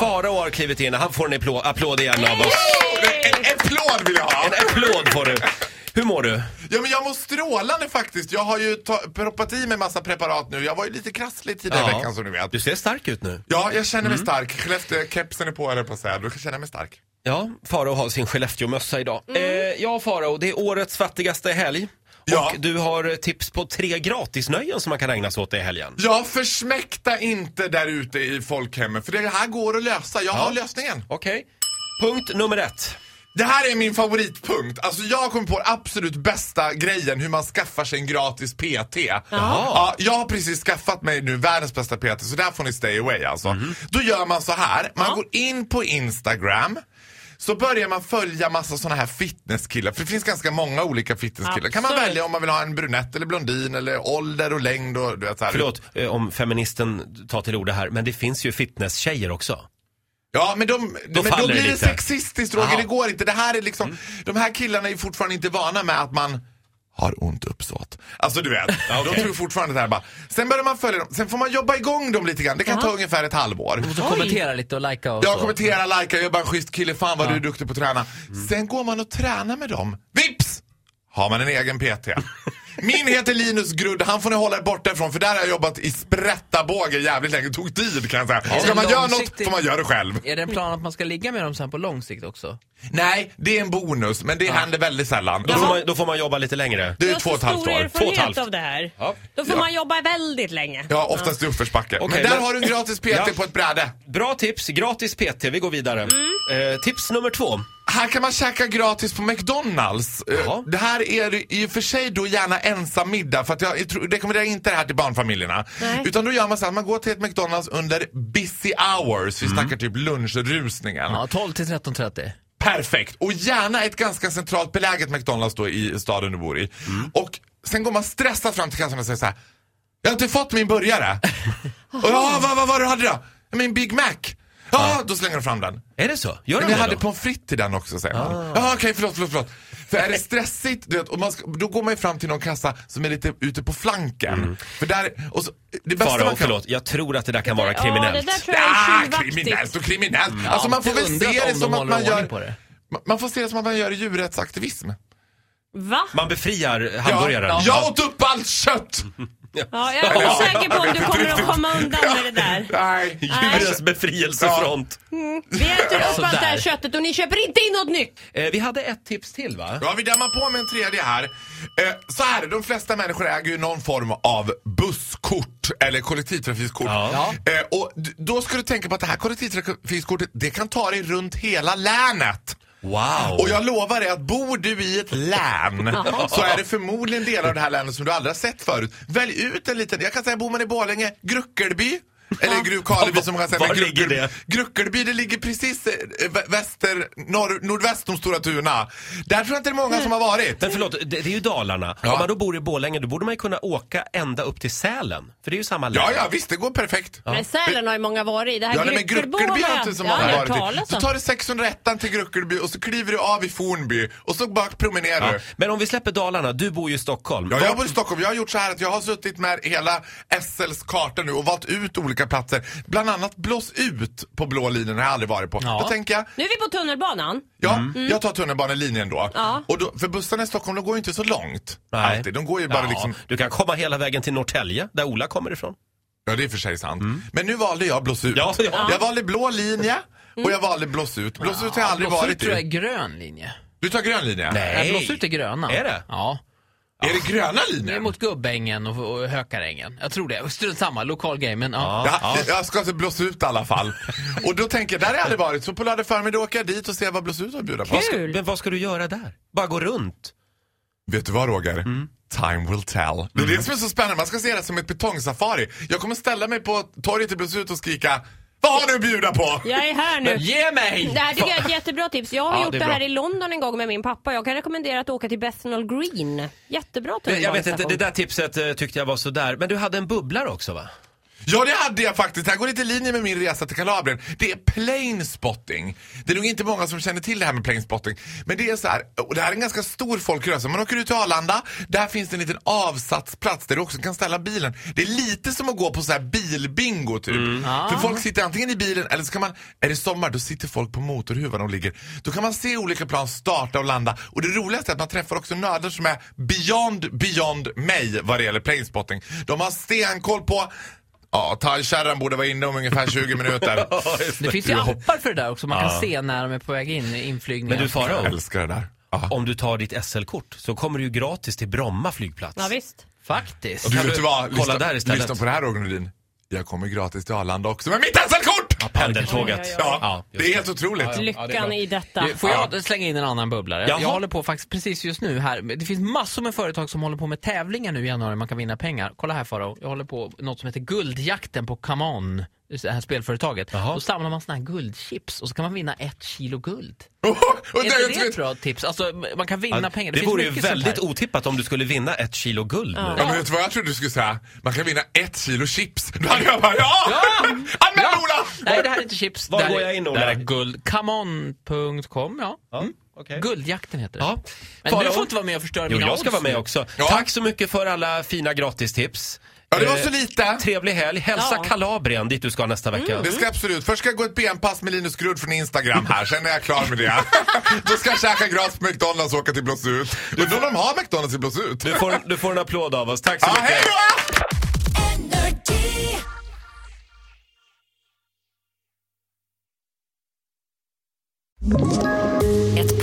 Farao har klivit in. Han får en applå- applåd igen av oss. En en applåd vill jag ha! En applåd får du. Hur mår du? Ja, men jag mår strålande faktiskt. Jag har ju ta- proppat i mig massa preparat nu. Jag var ju lite krasslig tidigare i veckan som du vet. Du ser stark ut nu. Ja, jag känner mig stark. Skellefteå-kepsen är på eller på att säga. Du känner jag mig stark. Ja, Farao har sin Skellefteåmössa idag. Eh, ja, Farao, det är årets fattigaste helg. Och Ja. du har eh, tips på tre gratisnöjen som man kan ägna sig åt i helgen. Ja, försmäkta inte där ute i folkhemmet. För det här går att lösa. Jag har lösningen. Okej. Punkt nummer ett. Det här är min favoritpunkt. Alltså jag kom på den absolut bästa grejen hur man skaffar sig en gratis PT. Ja, jag har precis skaffat mig nu världens bästa PT så där får ni stay away alltså. Då gör man så här, man går in på Instagram. Så börjar man följa massa såna här fitnesskillar, för det finns ganska många olika fitnesskillar. Kan man Absolut. välja om man vill ha en brunett eller blondin eller ålder och längd och du vet så här. Förlåt eh, om feministen tar till orda här, men det finns ju fitnesstjejer också. Ja, men de, då, men då faller det blir det, lite. Mm. sexistiskt Roger, Aha. det går inte. Det här är liksom, de här killarna är fortfarande inte vana med att man har ont uppsåt. Alltså du vet, de tror fortfarande det här bara. Sen börjar man följa dem, sen får man jobba igång dem lite grann. Det kan ta ungefär ett halvår. Så kommentera lite och likea och Jag så. kommenterar, likar, jag är bara en schysst kille, fan vad du är duktig på att träna. Mm. Sen går man och tränar med dem. Vips! Har man en egen PT. Min heter Linus Grudd, han får ni hålla er borta ifrån för där har jag jobbat i sprättabåge jävligt länge. Det tog tid kan jag säga. det Ska man göra något långsiktigt? får man göra det själv. Är det en plan att man ska ligga med dem sen på lång sikt också? Nej, det är en bonus, men det Ah. händer väldigt sällan. Då får man, då får man jobba lite längre. Det Du är har två och så ett halvt stor år. Två och ett halvt. erfarenhet av det här. Ja. Då får Ja. man jobba väldigt länge. Ja, oftast i uppförsbacke. Okej, men där men- har du en gratis PT Ja. på ett bräde. Bra tips, gratis PT. Vi går vidare. Eh, tips nummer två. Här kan man käka gratis på McDonalds. Eh, Jaha. Det här är ju i och för sig då gärna ensam middag för att jag tror- rekommenderar inte det här till barnfamiljerna. Nej. Utan då gör man så här, man går till ett McDonalds under busy hours. Mm. Vi snackar typ lunchrusningen. Ja, 12 till 13.30. Perfekt! Och gärna ett ganska centralt beläget McDonalds då i staden du bor i. Mm. Och sen går man stressat fram till kassan och säger så här. Jag har inte fått min burgare. och ja, vad, vad var det du hade då? Min Big Mac. Ja, då slänger de fram den. Är det så? Gör Men de jag det hade då? pommes frites i den också säger man. Ah. Ja, okej förlåt, förlåt, förlåt. För är det stressigt, du vet, och man ska, då går man ju fram till någon kassa som är lite ute på flanken. Mm. För där, och så, det bästa man Farao, kan... förlåt. Jag tror att det där kan vara Ja, det kriminellt. där tror jag Ah, är tjuvaktigt. kriminellt och kriminellt. Alltså man får inte väl undra se Mm. om det de som att håller man ordning på gör... det. Ma- Man får se det som att man gör djurrättsaktivism. Va? Man befriar hamburgaren. Ja, jag åt upp allt kött! Ja, jag är osäker på om du kommer att komma undan med det där. Nej. Djurens befrielsefront. Vi äter Alltså, upp allt det här Sådär. köttet och ni köper inte in något nytt. Eh, vi hade ett tips till va? Ja, vi dammar på med en tredje här. Eh, så här, är det, de flesta människor äger ju någon form av busskort eller kollektivtrafikkort. Ja. Eh, och d- då ska du tänka på att det här kollektivtrafikkortet, det kan ta dig runt hela länet. Wow. Och jag lovar dig att bor du i ett län så är det förmodligen delar av det här länet som du aldrig har sett förut. Välj ut en liten, jag kan säga bor man i Borlänge, Gruckelby. Eller Gru- Karleby som man kan säga. Var men ligger Gruckelby- det? Gruckelby, det ligger precis eh, vä- väster, norr, nordväst om Stora Tuna. Där tror jag inte det är många som har varit. Men förlåt, det, det är ju Dalarna. Ja. Om man då bor i Borlänge då borde man ju kunna åka ända upp till Sälen. För det är ju samma län. Ja, ja, visst, det går perfekt. Ja. Men Sälen har ju många varit i. Det här Ja, nej, men Gryckelbo Gruckelby har har jag- inte så Ja, många jag har hört varit i. talas Så om. tar du 601 till Gruckelby och så kliver du av i Fornby och så bak promenerar du. Ja. Men om vi släpper Dalarna, du bor ju i Stockholm. Ja, jag bor i Stockholm. Jag har gjort så här att jag har suttit med hela SLs karta nu och valt ut olika platser. Bland annat Blås ut på blå linjen har jag aldrig varit på. Ja. Mm. Då tänker jag, Nu är vi på tunnelbanan. ja, Mm. jag tar tunnelbanelinjen då. Ja. Och då. För bussarna i Stockholm, de går ju inte så långt. Nej. Alltid. De går ju bara Ja, liksom... Du kan komma hela vägen till Norrtälje, där Ola kommer ifrån. Ja, det är för sig sant. Mm. Men nu valde jag Blås ut. Ja, ja. Jag valde blå linje och jag valde Blås ut. Blås ut har jag aldrig Mm. Blås ut varit tror jag är i. grön linje. Du tar grön linje? Nej, blås ut är gröna. Är det? Ja. Är det gröna Det är linjen? mot Gubbängen och, och Hökarängen. Jag tror det. Strunt samma, lokal grej, men ja. Ja, Jag ska alltså blåsa ut i alla fall. och då tänker jag, där har jag aldrig varit. Så på lördag förmiddag åker jag dit och ser vad blås ut har att bjuda på. Vad ska, Kul. men vad ska du göra där? Bara gå runt? Vet du vad Roger? Time will tell. Mm. Det är det som är så spännande. Man ska se det som ett betongsafari. Jag kommer ställa mig på torget i Blåsut och skrika Vad har du att bjuda på? Jag är här nu. Men ge mig! Det här tycker jag är ett jättebra tips. Jag har Ja, gjort det det, är här bra. i London en gång med min pappa. Jag kan rekommendera att åka till Bethnal Green. Jättebra Jag vet inte, tunnelbanestation. det där tipset eh, tyckte jag var sådär. Men du hade en bubblar också va? Ja, det hade jag faktiskt. Det här går lite i linje med min resa till Kalabrien. Det är plane spotting. Det är nog inte många som känner till det här med plane spotting. Men det är så här, och det här är en ganska stor folkrörelse. Man åker ut till Arlanda, där finns det en liten avsatsplats där du också kan ställa bilen. Det är lite som att gå på så här bilbingo typ. För folk sitter antingen i bilen eller så kan man, är det sommar då sitter folk på motorhuvan och ligger. Då kan man se olika plan starta och landa. Och det roligaste är att man träffar också nördar som är beyond, beyond mig vad det gäller plane spotting. De har stenkoll på Ja, thai-kärran borde vara inne om ungefär 20 minuter. Det finns ju appar för det där också. Man kan se när de är på väg in i inflygningen. Men du Jag Farao, älskar det där. Ja. om du tar ditt SL-kort så kommer du ju gratis till Bromma flygplats. Ja, visst. Faktiskt. Och du Kan vet du du vad? kolla Lyssna, där istället? lyssna på det här Roger Nordin. Jag kommer gratis till Arlanda också med mitt SL-kort! Ja, Pendeltåget. Oj, oj, oj. just det är helt otroligt. Ja, Lyckan det är bra. i detta. Får jag slänga in en annan bubblare? Jaha. Jag håller på faktiskt precis just nu här. Det finns massor med företag som håller på med tävlingar nu i januari. Man kan vinna pengar. Kolla här Farao. Jag håller på något som heter Guldjakten på Come On. Det här spelföretaget. Jaha. Då samlar man såna här guldchips och så kan man vinna ett kilo guld. och Är inte det det, ett bra tips? Alltså, man kan vinna Ja, pengar. det finns vore ju mycket sånt väldigt här. otippat om du skulle vinna ett kilo guld nu. ja, men vet du vad jag trodde du skulle säga? Man kan vinna ett kilo chips. Då hade jag bara ja! Anmäl Ola! Nej, det här är inte chips. Var det här går är- jag in, Ola? Det här är guld. Comeon.com, ja. Mm. okej. Guldjakten heter det. Ja. Men Farao? du får inte vara med och förstöra Jo, mina jag ska odds vara med nu. också. Ja. Tack så mycket för alla fina gratistips. Ja, det var Eh, så lite. Trevlig helg. Hälsa Ja. Kalabrien dit du ska nästa vecka. Mm. Det ska jag absolut. Först ska jag gå ett benpass med Linus Grudd från Instagram här, sen är jag klar med det. Då ska jag käka gras på McDonalds och åka till Blåsut. Undrar om de har McDonalds i Blåsut? Du, får, du får en applåd av oss. Tack så Ja, mycket. hej då! Ett